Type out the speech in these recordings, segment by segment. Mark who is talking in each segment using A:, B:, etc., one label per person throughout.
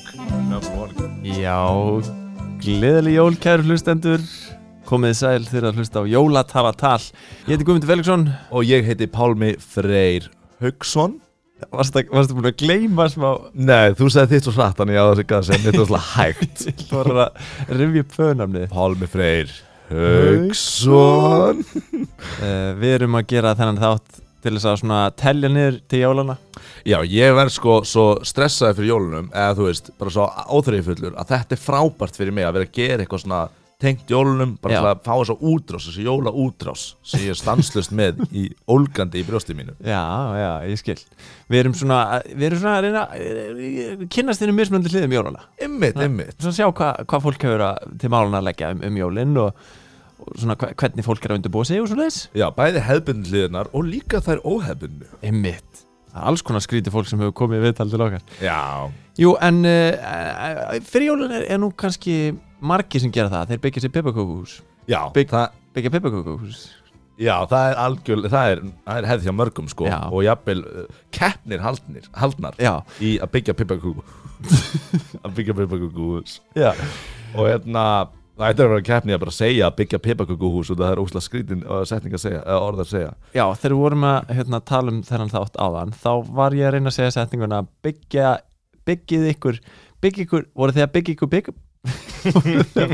A: Apple One
B: Já, gleðileg jól kæru hlustendur Komið þið sæl þeirra að hlusta á jólatalatal Ég heiti Guðmundur Felixson
A: Og ég heiti Pálmi Freyr Haugsson
B: Varstu varstu búin að gleyma smá
A: Nei, þú sagði þitt svo hratt Þannig að það sé gæða sem Þetta var svolítið hægt
B: Þú voru að rifja upp fönamni
A: Pálmi Freyr Haugsson
B: uh, Við erum að gera þennan þátt til þess að svona telja niður til jólana
A: Já, ég verð sko svo stressaði fyrir jólunum Eða þú veist, bara svo óþreifullur Að þetta er frábært fyrir mig Að vera að gera eitthvað svona tengt jólunum Bara
B: Já.
A: svona að fá þess að útrás Þessi jóla útrás Sem ég er stanslust með Í ólgandi í brjósti mínu
B: Já, já, ég skil Við erum svona, við erum svona að reyna að kynnast þínu mismöndi hliðum jólana
A: Ymmit, ymmit
B: Svona sjá hvað hva fólk hefur að, til málana að leggja um, um jólin og, og svona hva, hvernig fólk er að undirbúa sig og svona þess
A: Já, bæði hefbundliðnar og líka þær óhefbundu
B: Einmitt. Það er alls konar skrítið fólk sem hefur komið í viðtal til okkar.
A: Já,
B: Jú, en uh, fyrir jólun er, er nú kannski margir sem gera það. Þeir byggja sér pepparkókuhús.
A: já,
B: Big-
A: það,
B: Byggja pepparkókuhús.
A: já, það er algjörlega, það er, það er hefð hjá mörgum sko
B: Já.
A: og jafnvel uh, keppnir haldnir, haldnar
B: Já.
A: í að byggja pippakúku að byggja pippakúkuhús
B: Já.
A: og hérna, það ættir að vera keppni að bara segja að byggja pippakúkuhús og það er ósla skrítin uh, setning að segja, eða orð að segja
B: Já, þegar við vorum að hérna, tala um þennan þátt áðan, þá var ég að reyna að segja setninguna að byggja, byggið ykkur, byggja ykkur, voru þið að byggja ykkur, byggja, voru þið að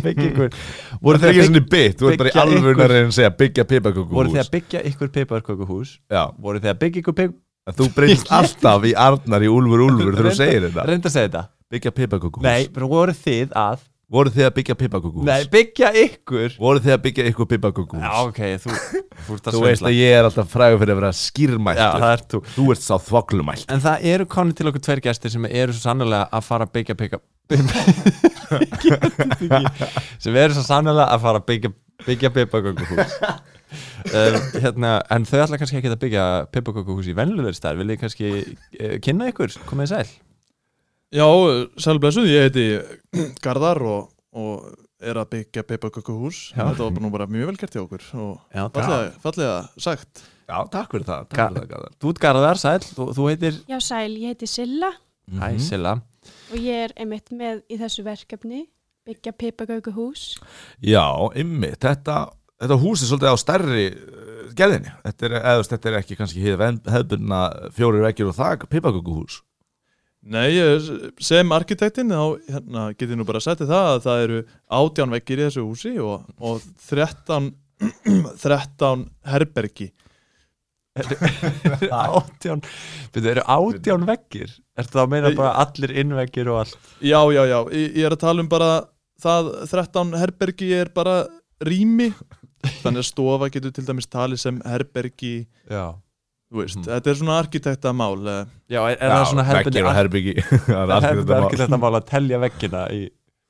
B: byggja ykkur, voru þið
A: Það er ekki
B: að,
A: svona bytt, þú ert bara í
B: byggja
A: alvöru
B: ykkur-
A: að reyna að segja byggja
B: bygg, voru þið
A: pippakúkuhús
B: að byggja ykkur pepparkókuhús,
A: Já,
B: voru þið að byggja ykkur, pep-
A: en þú breytist alltaf í Arnar í Úlfur Úlfur þegar þú
B: Reyndu-
A: segir þetta
B: reyndu að segja þetta.
A: Byggja pippakúkuhús
B: Nei, bara voru þið að
A: Voruð þið að byggja pippakúkuhús?
B: Nei, byggja ykkur
A: Voruð þið að byggja ykkur pippakúkuhús?
B: Já, ok, þú, þú ert að
A: Þú veist
B: sveifla
A: að ég er alltaf frægur fyrir að vera skýrmælt
B: Já, það ert þú
A: Þú ert sá þvoklumælt
B: En það eru konni til okkur tveir gestir sem eru svo sannlega að fara að byggja byggja sem eru svo sannlega að fara að byggja byggja pipakökuhús um, hérna, En þau ætla kannski ekki að geta byggja pipakökuhús í venlulegri stær Viljið þið kannski uh, kynna ykkur, komið þið sæl
C: Já, sælblessuð, ég heiti Garðar og, og er að byggja peipakökuhús
B: Já.
C: Þetta var nú bara mjög vel gert hjá okkur og
B: Já,
C: fallega, fallega sagt
A: Já, takk fyrir það,
B: Ga-
A: takk fyrir það Garðar
B: Þú ert Garðar, sæl, þú, þú heitir
D: Já, sæl, ég heiti Silla
B: Æ,
A: Mhm.
B: Silla
D: og ég er einmitt með í þessu verkefni byggja pipagaukuhús.
A: Já, ymmi, þetta, þetta hús er svolítið á stærri uh, gerðinni Þetta er, eða, þú veist, þetta er ekki kannski hið hefðbunna fjórir vekkir og þak pippakúkuhús
C: Nei, ég- sem arkitektinn þá hérna, getið nú bara að setja það að það eru átján veggir í þessu húsi og, og 13, 13 herbergi
B: Átján, byrju, eru átján veggir? Ertu þá að meina bara allir innveggir og allt?
C: Já, já, já, ég, ég er að tala um bara það 13 herbergi er bara rými Þannig að stofa getur til dæmis talið sem herbergi,
B: Já
C: þú veist,
B: Mhm.
C: þetta er svona arkitektamál eh,
B: Já, er, er það svona
A: vekkir
B: hefðbundið
A: og herbyggi Það er allt í þetta mál.
B: arkitektmál að telja veggina í,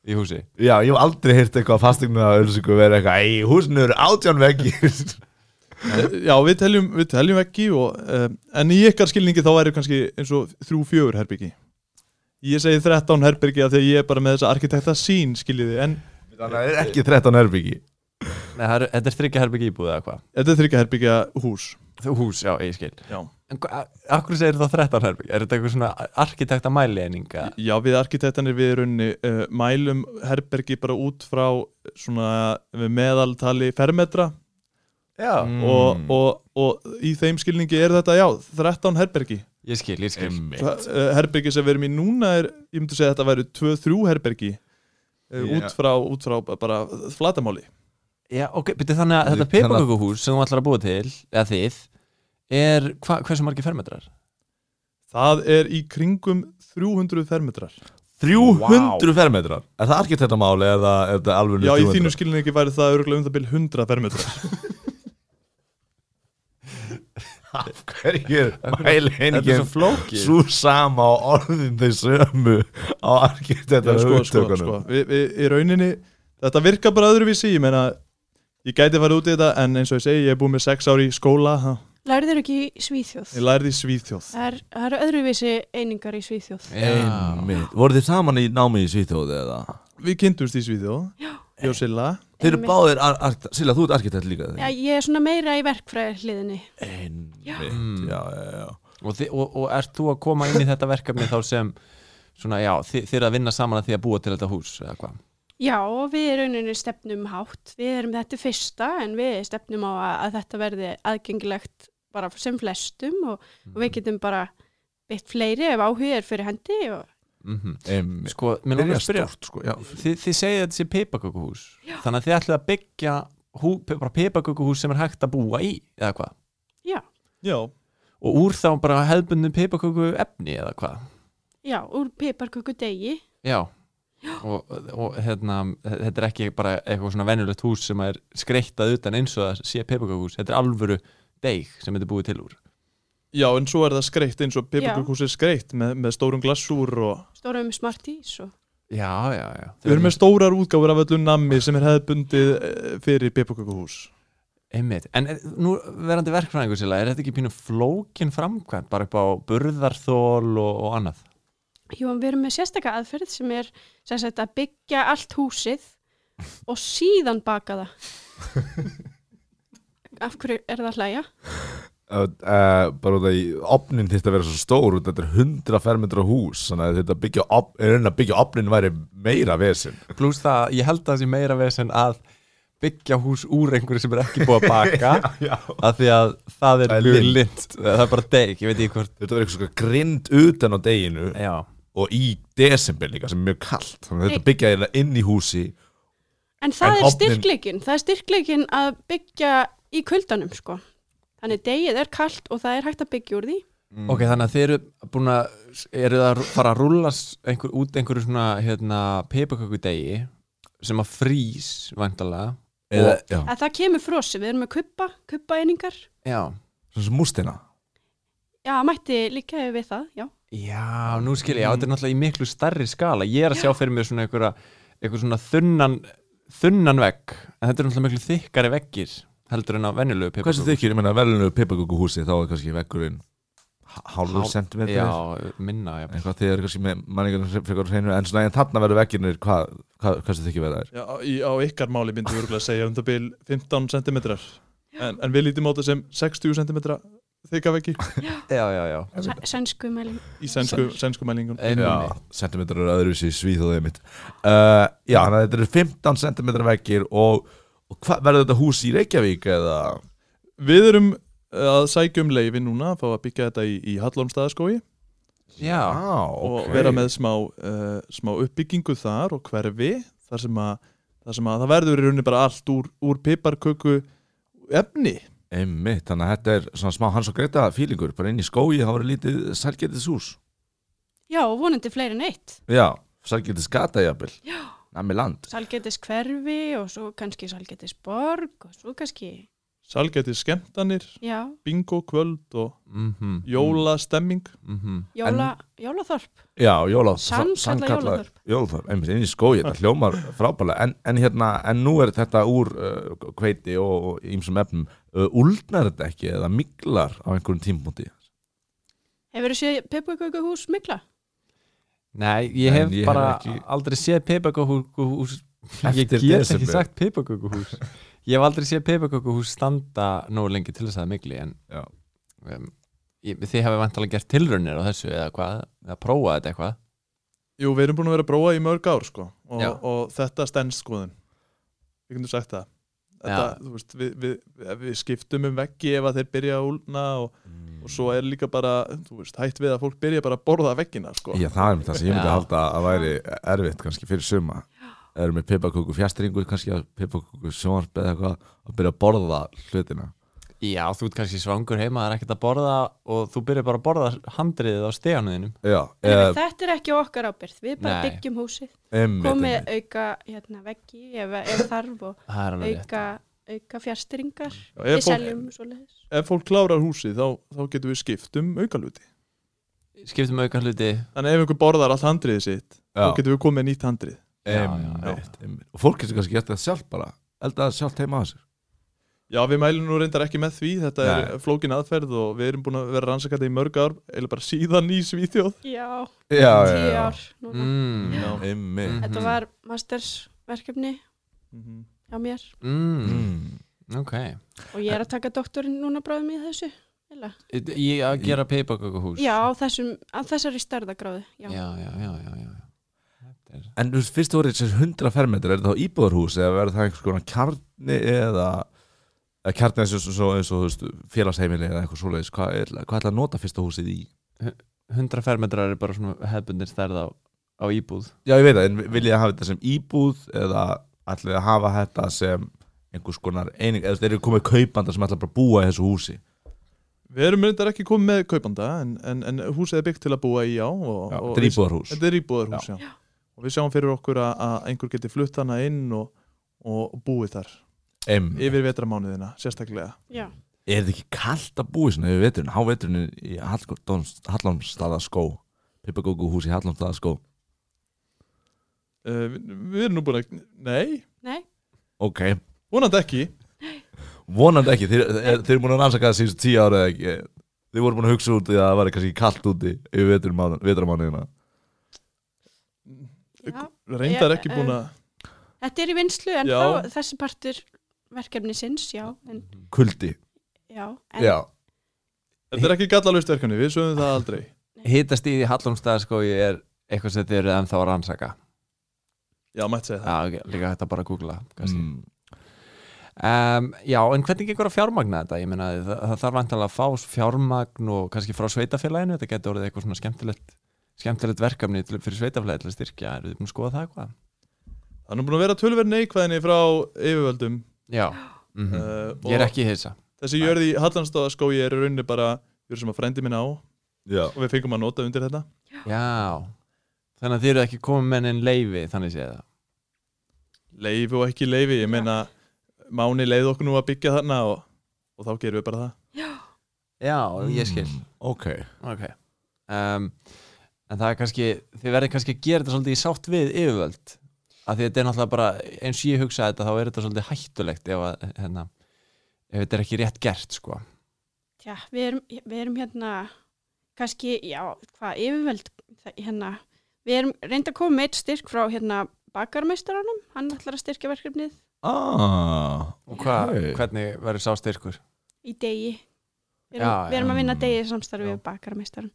B: í húsi
A: Já, ég hef aldrei heyrt eitthvað fastegna að ölsingu vera eitthvað Æ, húsinu eru átján vekkir
C: eh, Já, við teljum, við teljum ekki og, um, en í ykkar skilningi þá væri kannski eins og þrjú fjögur herbyggi Ég segi 13 herbyggi af því að ég er bara með þessa arkitekta sín skiljiði en
A: Þannig að það er ekki 13 herbyggi
B: Nei, það er, þetta er þryggja herbyggi íbúð eða hvað
C: þetta er þryggja herbygja hús
B: Þú Hús, já, ég skil
C: Já,
B: En hva- akkur segir það 13 herbyggi? Er þetta eitthvað svona arkitekta mæleininga?
C: Já við arkitektanir við runni uh, mælum herbergi bara út frá svona meðaltali fermetra
B: Já
A: Mm.
C: og, og, og í þeim skilningi er þetta já, 13 herbergi
B: Ég skil, ég skil
A: Einmitt.
C: Svo, eh, herbergi sem við erum í núna er, ég myndi segja að þetta væru 2-3 herbergi
A: Já.
C: yeah. Eh, út, frá, út frá bara flatamáli
B: Já, ok, byrju þannig að þetta
A: Þannig-
B: peipakökuhús sem þú ætlar að búa til, eða þið er, hva, hversu margir fermetrar?
C: það er í kringum 300 fermetrar
A: 300 fermetrar Er það arkitektamáli eða er það alveg
C: já í þínu skilningi væri það örgulega um það byrja 100 fermetrar
A: Hverju er mæleiningin
B: flókið
A: Svo sama á orðin þau sömu á arkitektar
C: sko, sko, sko. Vi, vi, í rauninni, þetta virkar bara öðruvísi ég meina, ég gæti að fara út í þetta en eins og ég segi, ég er búið með 6 ár í skóla ha,
D: Lærið eru ekki í Svíþjóð.
C: ég lærði í Svíþjóð
D: Það er- það eru öðruvísi einingar í Svíþjóð.
B: Já,
A: Voru þið saman í námi í Svíþjóði eða?
C: við kynntumst í Svíþjóð, ég og Silla
A: Þeir eru
D: Einmitt.
A: báðir, ar- arkite- Silla þú ert arkitekt líka
D: Já, ég er svona meira í verkfræði hliðinni.
A: Einmitt,
D: Já.
A: já, já, já
B: og, þi, og, og ert þú að koma inn í þetta verkefni þá sem svona, já, þið, þið er að vinna saman að því að búa til þetta hús eða hvað
D: Já, við í rauninni stefnum hátt. Við erum þetta er fyrsta en við stefnum á að, að þetta verði aðgengilegt bara sem flestum og, og
A: Mhm.
D: við getum bara beitt fleiri ef áhuga er fyrir hendi og
B: mm
A: um,
B: Sko, mér langar að spyrja
A: stórt, sko, já,
B: þið, þið segið að þetta sé pipakökuhús þannig að þið ætlið að byggja hú, bara pipakökuhús sem er hægt að búa í eða hvað,
C: Já,
B: og úr þá bara hefðbundin pipaköku efni eða hvað
D: já, úr piparköku degi.
B: Já, Og, og hérna, þetta er ekki bara eitthvað svona venjulegt hús sem er skreittað utan eins og það sé pepakakús þetta er alvöru deig sem þetta er búið til úr
C: já, en svo er það skreitt eins og pipakökhús er skreitt með, með stórum glassúr og
D: Stóra um smartís og
B: Já, já, já
C: Við erum með stórar útgáfur af öllu nammi sem er hefðbundið eh, fyrir pipakökuhús
B: Einmitt, en er- nú verandi verkfræðingur sérlega, er þetta ekki pínu flókin framkvæmt bara upp á burðarþól og, og annað?
D: Jú, en við erum með sérstaka aðferð sem er sem sagt, að byggja allt húsið og síðan baka það. Af hverju er það að hlæja?
A: uh, uh, bara út af í opnin þýtti að vera svo stór út af þetta er 100 fermetra hús þannig að þetta byggja, op, er að byggja opnin væri meira vesinn
B: Plus það, ég held að það sé meira vesen að byggja hús úr einhverju sem er ekki búið að baka
A: já.
B: af því að það er
A: Það er
B: mjög
A: lint.
B: lint, það er bara deig, ég veit ekki hvort
A: þetta verður eitthvað grind utan á deginu
B: Já,
A: og í desember líka sem er mjög kallt þannig að þetta byggja þeirra inn í húsi
D: En það
A: En
D: er
A: ofninn-
D: styrkleikin, það er styrkleikin að byggja í kuldanum, sko. Þannig degið er kalt og það er hægt að byggja úr því.
B: Ok, þannig að þið eru búin að eru það að fara að rúlla s- einhver, út einhverju svona hérna, peipakökudegi sem að frýs vandalega
A: eða, já,
D: En það kemur frosi, við erum með kuppa, kuppaeiningar.
B: Já,
A: svona sem mústina
D: Já, mætti líka við það, já.
B: já, nú skil ég, já, þetta er náttúrulega í miklu starri skala ég er að sjá fyrir mér svona einhverja einhver svona þunnan þunnan vegg, en þetta eru náttúrulega miklu þykkari veggir heldur en á venjulegu
A: hversu
B: peipaköku
A: þykir, ég meina velinu pipaköku húsi þá er kannski vekkurinn hálfur
B: Hál-
A: sentimetri
B: Já, minna, já
A: eitthvað þegar kannski með manningarnir frekar hreinu en svona en þarna verður vegginir hvað, hvað, hversu þykir verða er
C: Já, í, á ykkar máli myndi við örgulega segja um það bil 15 cm en, en við lítum á þetta sem 60 cm þykka veggi
B: Já, já, já,
D: Sæ- Sænsku mæling.
C: í sænsku, sænsku mælingum
B: einminni
A: sentimetrar öðruvísi í svíþóðið mitt uh, já, þannig að þetta eru 15 sentimetrar veggir og, og hvað verður þetta hús í Reykjavík eða
C: Við erum að sækja um leifi núna að fá að byggja þetta í, í Hallormstaðaskói
B: Já,
A: ah,
C: og vera með smá, uh, smá uppbyggingu þar og hverfi þar sem að, þar sem að það verður í rauninni bara allt úr, úr piparköku efni
A: einmitt, þannig að þetta er svona smá hans og greita fílingur, bara inn í skói þá verður lítið sælgetið hús
D: Já, og vonandi fleiri en eitt.
A: já, sælgetið skata jafnvel nami land
D: Salgetis hverfi og svo kannski salgetis borg og svo kannski,
C: salgæti skemmtanir,
D: já,
C: bingo kvöld og
B: mhm,
C: jólastemming
B: mhm
D: jóla, jólaþorp.
A: já, jóla,
D: Sannkallað jólaþorp.
A: jólaþorp, einmitt, inn í skói, þetta hljómar frábælega en, en hérna, en nú er þetta úr uh, kveiti og, og ýmsum efnum uh, úldnar þetta ekki eða miglar á einhverjum tímpúti
D: Hefur þú séð Peppaköku hús mikla?
B: Nei, ég
A: En
B: hef
A: ég hef
B: bara
A: ekki-
B: aldrei séð pipakökuhús Ég
A: Eftir
B: get ekki
A: desember.
B: sagt pipakökuhús Ég hef aldrei séð pipakökuhús standa nógu lengi til þess að það mikli en
A: Já.
B: um, ég, þið hefur vantalega gert tilraunir á þessu eða hvað, eða prófað þetta eitthvað
C: Jú, við erum búin að vera að prófa í mörg ár sko, og,
B: Já.
C: og þetta stendst skoðun við getum sagt það þetta,
B: Já.
C: þú veist, við, við, við- við skiptum um veggi ef að þeir byrja að úlna og, og svo er líka bara, þú veist, hætt við að fólk byrja bara að borða veggina sko.
A: Já, það er mér það sem ég myndi
B: Já.
A: halda að væri erfitt kannski fyrir suma erum með pipaköku fjastringu kannski að pipaköku sjónvarp eða eitthvað að byrja að borða hlutina
B: Já, þú ert kannski svangur heima, það er ekkert að borða og þú byrjar bara að borða handriðið á steganuðinum
A: Já, eða
D: Uh, þetta er ekki á okkar ábyrð, við bara
B: Nei.
D: byggjum húsið,
A: einmitt,
D: komið
A: einmitt.
D: auka hérna, veggi ef, ef þarf og
B: Það er alveg rétt
D: auka, auka fjárstyringar,
C: Já,
D: við
C: ef, fólk,
D: seljum svo leiðis.
C: ef fólk klárar húsið þá, þá getum við skipt um aukaluti
B: Skiptum auka hluti
C: þannig ef einhver borðar allt handriðið sitt
A: Já,
C: þá getum við komið með nýtt handrið
B: Já, já,
A: einmitt, einmitt. Og fólk getur kannski gert það sjálf bara elda það sjálf heima á sér
C: Já, við mælum nú reyndar ekki með því, þetta
A: Nei.
C: er flókin aðferð og við erum búin að vera rannsakandi í mörg ár, eða bara síðan í Svíþjóð
D: Já, um
A: Já, Mm-hmm.
D: tíu ár núna.
B: mm,
C: Já.
A: Einmitt
D: Þetta
B: mhm.
D: var mastersverkefni
C: Mhm.
D: hjá mér
B: mm,
A: Mm.
B: Ok
D: og ég er að taka doktorinn núna bráðum í þessu eiginlega.
B: Í að gera peipakökuhús
D: Já, á þessum, á þessari stærðagráðu, já.
B: já, já, já, já, já. Þetta er-
A: En þú veist, fyrst voru þessir 100 fermetrar, er það þá íbúðarhús eða verður það einhvers konar kjarni eða eða kjarni eins og, eins og, eins og þú veist, félagsheimili eða eitthvað svoleiðis, hvað ætla, hvað ætla að nota fyrsta húsið í?
B: 100 fermetrar er bara svona hefbundir stærð á, á íbúð
A: Já, ég veit það, en vil ég hafa þetta sem íbúð eða ætla að hafa þetta sem einhvers konar eining, eða þú veist, eru komið kaupanda sem ætla bara að búa í þessu húsi
C: Við erum reyndar ekki komið með kaupanda en, en, en húsið er byggt til að búa í já og,
A: Já,
C: og
A: þetta er íbúðarhús
C: Þetta er íbúðarhús, já. Og við sjáum fyrir okkur að, að einhver geti flutt hana inn og, og búið þar
A: Em, Er
C: yfir vetramánuðina, sérstaklega.
D: Já,
A: þetta ekki kalt að búa í svona yfir veturinn, háveturinn í Hallamstaðaskó Pippagóku hús í Hallamstaðaskó
C: Uh, við, við erum nú búin að, nei,
D: nei,
A: Ok,
C: vonandi ekki.
A: vonandi ekki, þeir, þeir, þeir eru búin að rannsaka það síðust tíu ára eða ekki þeir voru búin að hugsa út í að það var kannski kallt úti yfir vetramánuðina
D: já.
C: Reyndar
D: Ég-
C: ekki búin að,
D: Þetta er í vinslu en
C: Já.
D: þá þessi partur verkefnisins, já, en,
B: Mhm.
A: kuldi,
D: já, en
A: já,
C: þetta er ekki gallalaust verkefni, við sögum það aldrei.
B: Hittastíði í Hallómstæðaskói er eitthvað sem þið eru ennþá að rannsaka
C: Já, mætti segja það.
B: Já, ok, líka hægt að bara googla mm.
A: mm,
B: um, Já, en hvernig gengur að fjármagna þetta? Ég meina, það, það þarf vantilega að fá fjármagn og kannski frá sveitafélaginu þetta getur orðið eitthvað svona skemmtilegt skemmtilegt verkefni til, fyrir sveitafélagi til að styrkja Eruð þið búin að skoða það eitthvað?
C: Það er nú búin að vera tölverð neikvæðinni frá yfirvöldum.
B: Já, mm
A: Mhm.
C: Uh,
B: ég er
C: og
B: ekki hissa
C: Þessi jörði í Hallandstáðaskói er í rauninni bara, við sem að frendi minn á og
A: já
C: við fengum að nota undir þetta.
B: Já, þannig að þið eru ekki komið með enn leifi, þannig séð það
C: Leifi og ekki leifi, ég meina, Máni leiði okkur nú að byggja þarna og, og þá gerum við bara það.
B: Já, ég skil
A: Mm, ok,
B: Ok um, En það er kannski, þið verðið kannski að gera þetta svolítið í sátt við yfirvöld af því þetta er náttúrulega bara, eins og ég hugsa þetta þá er þetta svolítið hættulegt ef, að, hérna, ef þetta er ekki rétt gert sko.
D: já, við erum, við erum hérna, kannski, já, hvað, yfirveld, það- hérna, við erum reynda að koma með eitt styrk frá hérna bakarmeistaranum, hann ætlar að styrkja verkefnið
A: aaaah
B: og hva,
A: Ok.
B: hvernig verður sá styrkur
D: í degi. Við erum,
B: Já,
D: við erum að vinna
A: já.
D: degi samstarfi
B: Já.
D: við bakarmeistaran.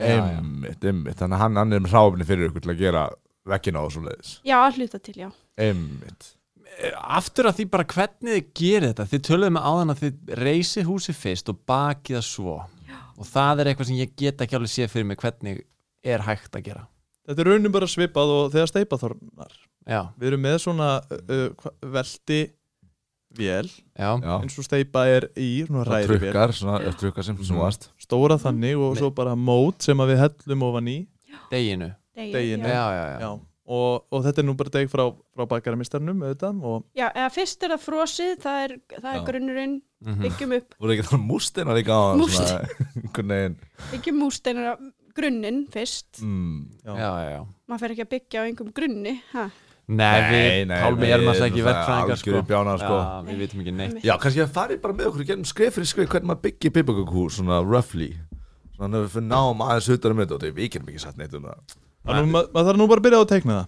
A: einmitt, einmitt, þannig að hann, hann er um hráfni fyrir ykkur til að gera vekkina og svo leiðis
D: Já, að hluta til, já.
A: einmitt,
B: Eh, Aftur að því bara hvernig þið gerir þetta þið töluðum með áðan að þið reysi húsi fyrst og bakið það svo og það er eitthvað sem ég get ekki alveg séð fyrir mig hvernig er hægt að gera
C: Þetta er raunin bara svipað og þegar steipaþornar.
B: Já,
C: Við erum með svona uh, uh, hva- velti vél,
B: já,
A: já
C: eins og steipa er í, svona
A: það
C: ræri vél,
A: trukkar, svona trukkar sem snúast
C: stóra þannig og svo bara mót sem að við hellum ofan í.
B: deginu
D: Degi,
C: Deginum.
B: Já,
D: já.
B: já, já,
C: Já. Og, og þetta er nú bara deg frá, frá bakaramistarnum auðvitað og
D: Já, eða fyrst er það frosið, það er, það er
A: Já.
D: grunnurinn,
B: Mhm.
D: byggjum upp,
A: voru ekki um þannig mústina líka á
D: Múrstein.
A: einhvern veginn
D: byggjum músteinar grunninn fyrst.
A: mm,
C: já.
B: já, já, já.
D: Maður fer ekki að byggja á einhverjum grunni, ha?
B: Nei, við, Pálmi erum alltaf ekki
A: það er
B: verkfræðingar sko.
A: algjörir bjánar sko
B: Já, við vitum ekki neitt
A: Já, kannski að farið bara með okkur í gegnum skrif fyrir skrif hvernig maður byggir pipakökuhús svona roughly svona ef við fyrir náum aðeins utan um þetta og þetta við getum ekki satt neitt um það
C: Þannig að maður þarf nú bara að byrja á að teikna það.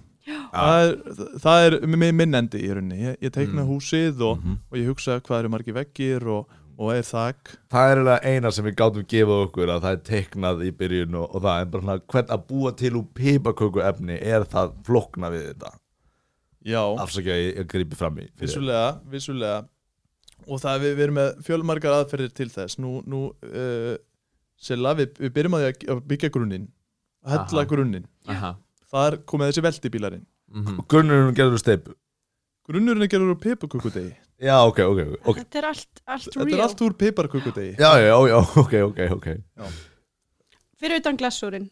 C: Það er, það er mi- minn endi í rauninni. Ég, ég teikna húsið og, og ég hugsa hvað eru margir veggir og, og er þak.
A: Það er eiginlega eina sem við gátum gefað okkur að það er teiknað í byrjun og, og það er bara svona hvernig að búa til úr pipaköku er það flokna við þetta
C: Já.
A: afsakja að ég, ég grípi fram í fyrir.
C: vissulega, vissulega og það við, við erum með fjölmargar aðferðir til þess nú, nú uh, Silla, við, við byrjum að, að byggja grunninn að hella
B: Aha.
C: grunninn,
B: Aha.
C: þar komið þessi veltibílarinn
B: Mhm.
A: Grunnurinn gerður úr steipu
C: grunnurinn er gerður úr piparkökudegi
A: Já, ok, ok, ok
D: Þetta er allt, allt
C: þetta
D: real,
C: er allt úr piparkökudegi
A: Já, já, já, ok, ok, ok
D: fyrir utan glassúrin,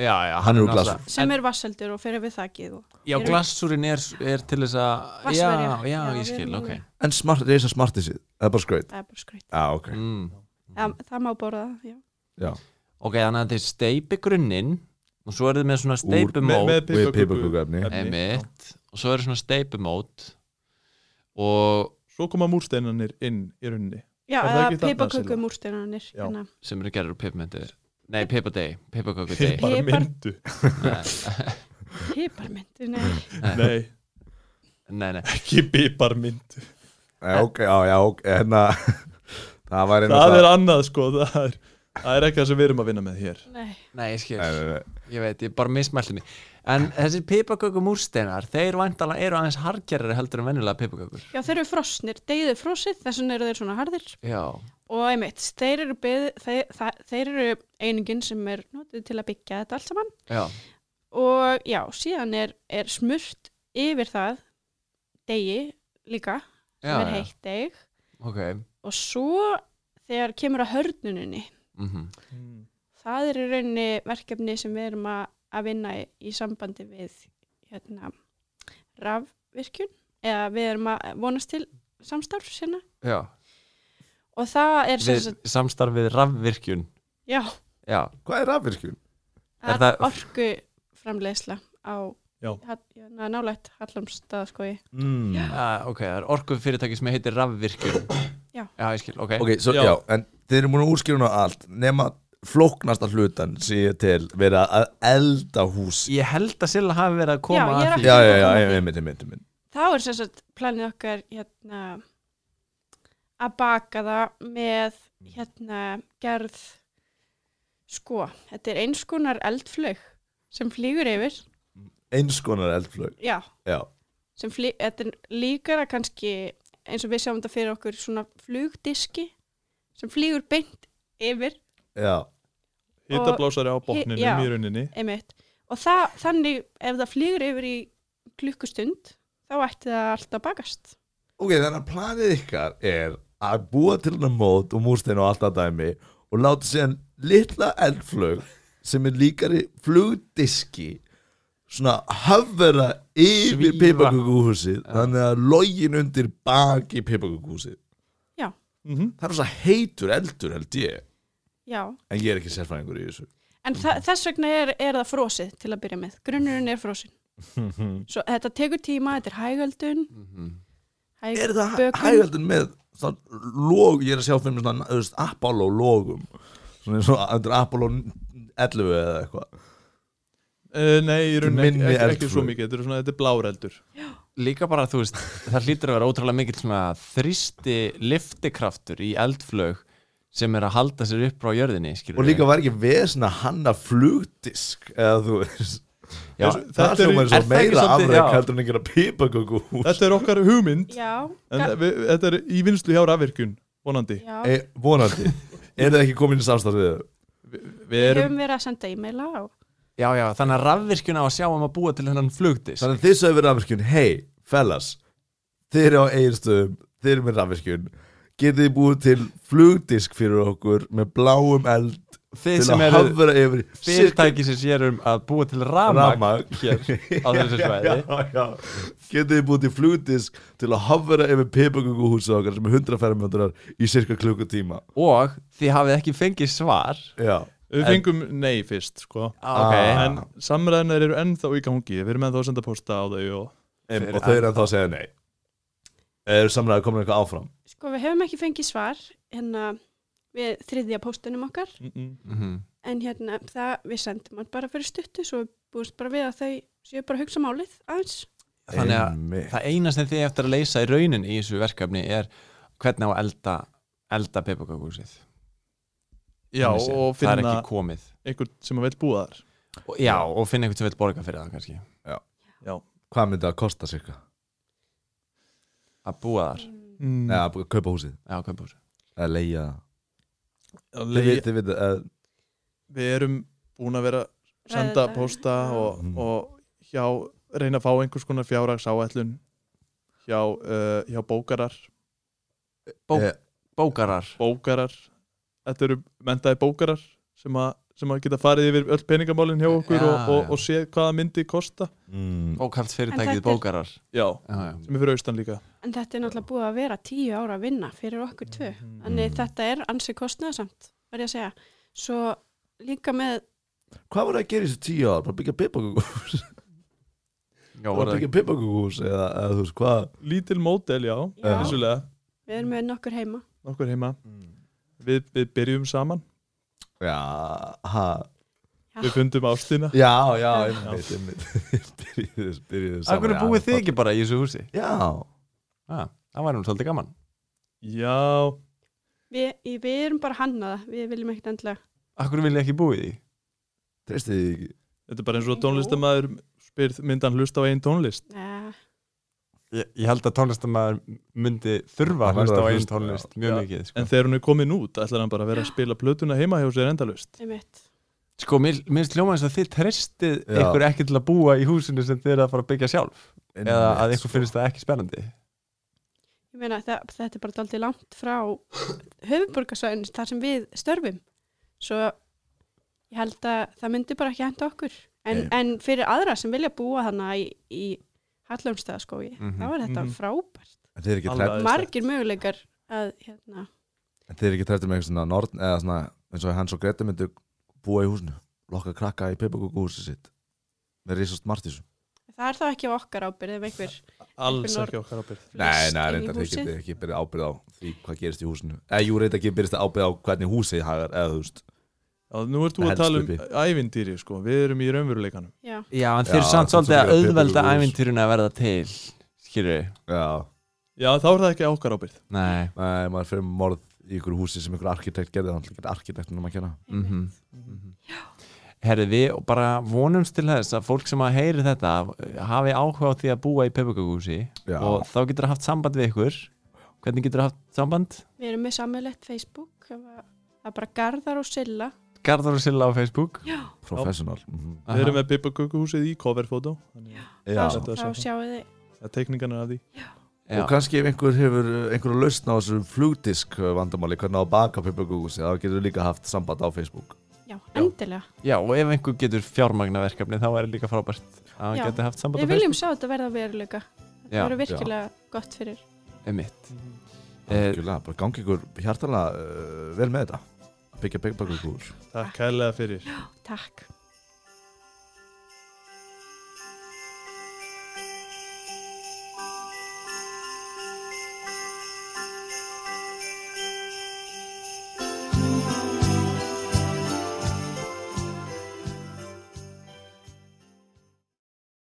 B: Já, já,
A: Hann er úr
B: náttúrulega-
A: glassu.
D: sem er vasseldur og fyrir við þakið og
B: Já,
D: Erum-
B: glassúrin er, er til þess að Já,
D: Vatnsverja.
B: já,
D: Já,
B: ég
D: við
B: skil,
D: erum
B: ok
D: alveg-
A: En smart, reysa smartið síð, það er bara skreit
D: það er bara skreitt.
A: Já, ok,
B: mm.
D: Það, það má borða, já.
A: já
B: Ok, þannig að þið steipi grunninn og svo eru þið með svona
C: með,
B: steipumót
C: með
A: Við
C: piparköku
A: pipakökuefni
B: Emitt, og svo eru svona steipumót og
C: svo koma múrsteinanir inn í runni
D: Já,
C: Er það
D: eða
C: ekki þarna, Silla?
D: peipakökum úrsteinanir,
C: Já.
D: hérna.
B: sem eru gerður úr pipmyndu Nei, pipadei, pipakökudei
C: bara
D: Pipar-
C: myndu
D: Piparmynd, nei.
C: Mm. nei,
B: Nei, nei,
C: ekki piparmyndu
A: Já, ok, já, já, ok, hérna það var einmitt
C: það
A: það
C: er annað sko það er, það er ekki það sem við erum að vinna með hér
D: Nei,
B: Nei, ég skil,
A: Nei, nei, nei.
B: ég veit, ég bara mismælti mig En þessir pipakökum úrsteinar, þeir væntalega eru aðeins hargerari heldur en venjulega pipakökur
D: já þeir eru frosnir, deyðu frosið, þess vegna eru þeir svona harðir
B: Já,
D: og einmitt, þeir eru, byð, þeir, það, þeir eru einingin sem er notið til að byggja þetta allt saman
B: já,
D: og já, síðan er, er smurt yfir það degi líka, sem
B: já,
D: er
B: já.
D: heitt deg
B: ok
D: og svo þegar kemur að hörnuninni
B: mm
D: það er í rauninni verkefni sem við erum að, að vinna í, í sambandi við hérna, rafvirkjun eða við erum að vonast til samstarf sinna
B: Já,
D: og það er sem
B: við,
D: sagt,
B: samstarfið rafvirkjun
D: já,
B: Já,
A: Hvað er rafvirkjun?
B: Er
D: það er
B: það-
D: orku framleiðsla á
C: Já.
D: hall, na, nálægt Hallamstað sko ég
A: Mm.
B: uh, ok, það er orkuð fyrirtæki sem heitir rafvirkjun
D: Já.
B: Já, ég skil, ok,
A: Ok, svo, já.
C: Já.
A: en þeir eru múin að úrskýruna allt nema flóknasta hlutan sé ég til vera að elda hús
B: Ég held að Silla hafi verið að koma
D: Já, ég er
B: að
D: að-
B: því
A: Já, já, já, einmitt, einmitt, einmitt
D: þá er sem sagt planið okkar hérna að baka það með hérna gerð sko, þetta er eins konar eldflög sem flýgur yfir
A: Eins konar eldflög
D: já,
A: Já,
D: sem flý, þetta er líkara kannski eins og við sjáum þetta fyrir okkur svona flugdiski sem flýgur beint yfir
A: já,
C: hittablásari á botninu
D: já.
C: í rauninni
D: einmitt og það, þannig ef það flýgur yfir í klukkustund þá ætti það allt að bakast
A: Ok, þannig að planið ykkar er að búa til hennar mót og múrstein og allt að dæmi og láta síðan litla eldflög sem er líkari flugdiski svona höfvera yfir
B: Svífa.
A: pipakökuhúsið þannig að login undir baki pipakökuhúsið
C: mm -hmm.
A: Það er svona heitur eldur held ég
D: já,
A: en ég er ekki sérfræðingur í þessu
D: en þa þess vegna er, er það frosið til að byrja með, grunnurinn er frosin svo þetta tekur tíma, þetta er hægöldun
B: Mhm.
D: hæg,
A: Er það
D: bökun.
A: hægaldin með svona log, ég er að sjá fyrir mig svona þú veist, Apollo logum svona, svona undir Apollo 11 eða eitthvað
C: Eh, nei, í rauninni
A: Minni
C: ekki, ekki, ekki
A: eldflög.
C: svo mikið, þetta er, svona, þetta er bláreldur
B: Líka bara, þú veist, það hlýtur að vera ótrúlega mikill svona þrýsti liftikraftur í eldflög sem er að halda sér upp frá jörðinni, skilur
A: og líka var ekki vesna hanna flugdisk eða þú veist
B: Já,
A: Já, það
C: þetta er-
A: hljóma er
B: er það
A: svo
B: ekki
A: meira
B: svolítið-
A: afreg
B: já.
A: heldur en ekki að pipaköku
C: þetta er okkar hugmynd
D: já,
C: en
D: ga-
C: við, þetta er í vinslu hjá rafvirkjun vonandi
D: já.
A: e, vonandi, er það ekki komin í samstæð við þau?
C: við
D: við
C: erum
D: höfum verið að senda e-maila á
B: Já, já, þannig að rafvirkjun á að sjá um að búa til hennan flugdis
A: þannig að þið sögur rafvirkjun, hei, fellas þið eru á eiginstöðum þið eru með rafvirkjun getið þið búið til flugdisk fyrir okkur með bláum eld
B: Þið
A: til
B: sem
A: að
B: eru
A: hafra yfir
B: fyrirtæki sem sér um að búa til rafmagn
A: rafmagn
B: hér á þessu svæði
A: já, já. getið þið búið til flugdisk til að hafra yfir pipaköku okkar sem er 100 fermetrar í cirka klukkutíma
B: og þið hafið ekki fengið svar
A: já
C: við
B: en-
C: fengum nei fyrst sko.
A: Ah.
B: Ok,
C: en samræðinar eru ennþá í gangi við erum ennþá að senda posta á þau og
A: Em,
B: Fyrir
A: og þau eru ennþá að segja nei eru samræði komin eitthvað áfram
D: Sko við höfum ekki fengið svar hérna við þriðja póstunum okkar
C: mm -mm.
B: mhm,
D: en hérna það við sendum hann bara fyrir stuttu svo við búumst bara við að þau séu bara að hugsa málið aðeins
B: Þannig að
A: Einmitt.
B: það eina sem þið eftir að leysa í raunin í þessu verkefni er hvernig á að elda, elda pepukakúsið
C: já, og
B: Það er
C: finna
B: ekki komið
C: einhvern sem að vel búa þar
B: og, Já, og finna einhvern sem vil borga fyrir það kannski
A: hvað myndi það að kosta cirka?
B: að búa þar,
C: mm.
A: Nei, að kaupa húsið,
B: já, kaupa hús
A: að leia
C: Leigja-
A: þið vitið, þið vitið að
C: við erum búin að vera
D: Ræða
C: senda
D: þetta.
C: posta og,
A: Mm.
C: og hjá, reyna að fá einhvers konar fjárrags áætlun hjá, uh, hjá bókarar
B: Bó,
A: Eh.
B: Bókarar
C: bókarar, þetta eru mentaði bókarar sem að, sem að geta farið yfir öll peningamálin hjá okkur
B: Já,
C: og,
B: já.
C: og, og séð hvaða myndi kosta
A: mm,
B: Bókalt
D: En
B: fyrirtækið
D: þetta er-
B: bókarar já,
C: já,
B: já.
C: sem er fyrir austan líka
D: en þetta er náttúrulega búið að vera tíu ára að vinna fyrir okkur tvö þannig
A: Mm.
D: þetta er ansi kostnaðsamt var ég að segja svo líka með
A: hvað voru að gera í þessu tíu ár? bara byggja pipakökuhús
B: Já,
A: bara
B: voru-
A: byggja pipakökuhús eða, eða þú veist hvað
C: lítil mótel, já,
D: já,
C: vissulega
D: við erum með nokkur heima
C: nokkur heima,
B: Mm.
C: við, við byrjum saman
A: já, ha
D: Ah.
C: við fundum ástina
A: já, já, einmitt, einmitt byrjuðu byrjuðu
B: Af hverju
A: saman
B: búið þið ekki bara í þessu húsi?
A: já,
B: Ah, það var nú svolítið gaman
C: já,
D: Við, í- við erum bara hannaða, við viljum ekkert endilega.
B: Akkur vil ég ekki búið því?
A: Treystið þið ekki
C: Þetta er bara eins og tónlistamæður spyrð myndan hlusta á einn tónlist
D: Nei,
B: Ég, ég held að tónlistamæður myndi þurfa að
A: Hann
B: hlusta á
A: verður að
B: einn
A: hlusta,
B: tónlist
A: já.
B: mjög
C: Já,
B: mikið sko.
C: En þegar hún er komin út, ætlar hann bara að vera að spila plötuna heima hjá sér endalust
D: einmitt.
B: Sko, mér mér finnst hljóma eins og þið tristið
A: Já.
B: ykkur ekki til að búa í húsinu sem þið eru að fara að byggja sjálf eða að ykkur finnst það ekki spennandi
D: Ég meina það, þetta er bara daldið langt frá höfuborgarsvæðinu þar sem við störfum. Svo ég held að það myndi bara ekki henda okkur. En,
A: Nei.
D: en fyrir aðra sem vilja búa þannig í, í Hallumstæðaskói,
B: Mhm.
D: þá er þetta
C: Mhm.
D: frábært.
A: En þið er ekki
C: Alla-
A: trætt
D: Margir möguleikar að, hérna,
A: En þið er ekki trættir með eitthvað svona norn eða svona eins og hans og Greta myndu búa í húsinu lokka krakka í pepagókuhúsi sitt með risast martísu
D: það er þá ekki á okkar ábyrð ef einhver
C: Alls
D: Einhver
C: ekki okkar ábyrð
A: Nei, nei,
D: flust inn í
A: reyndar þið
D: húsið.
A: getur ekki byrðið ábyrð á því hvað gerist í húsinu eða jú, reyndar ekki byrðið ábyrð á hvernig húsið hagar eða þú veist
C: Já, nú ert þú
A: Það
C: að tala um
A: helst
C: ævindýri sko, við erum í raunveruleikanum
D: Já,
B: Já, en
A: Já, þeir eru samt það er svolítið að svolítið að auðvelda pepperkukus.
B: ævintýrun að verða til skilur
A: Já,
C: Já, þá er það ekki okkar ábyrð
B: Nei,
A: nei, maður fyrir morð í ykkur húsi sem ykkur arkitekt gerði þannig að arkitektunum að kenna
B: mm
D: einmitt. Mhm.
B: Herri, við bara vonumst til þess að fólk sem að heyri þetta hafi áhuga á því að búa í pepukakúsi
A: Já.
B: og þá getur það haft samband við ykkur Hvernig getur það haft samband?
D: Við erum með sammeilegt Facebook, ef að- það er bara Garðar og Silla.
B: Garðar og Silla á Facebook
D: Já,
A: Professional mhm.
C: Við erum með Pippakökuhúsið í coverfótó þannig
A: Já,
D: þá,
C: Þetta er
D: þá
C: svo.
D: sjáu þið.
C: að teikningarna af því
A: og kannski ef einhver hefur einhverju lausn á þessu flugdisk eh, vandamáli hvernig á að baka pepagókuhúsi þá getur líka haft samband á Facebook
D: Já, endilega.
B: Já, og ef einhver getur fjármagna verkefni þá er líka frábært að hann
D: Já.
B: getur haft samband
D: Við
B: á
D: viljum
B: Facebook
D: sjá þetta verða að veruleika.
B: Já,
D: Það verður virkilega Mhm. gott fyrir
B: Einmitt. Eh,
A: Algjörlega, bara gangi ykkur eh, hjartalega uh, vel með þetta að byggja pepagókuhús
C: Takk kærlega fyrir
D: Takk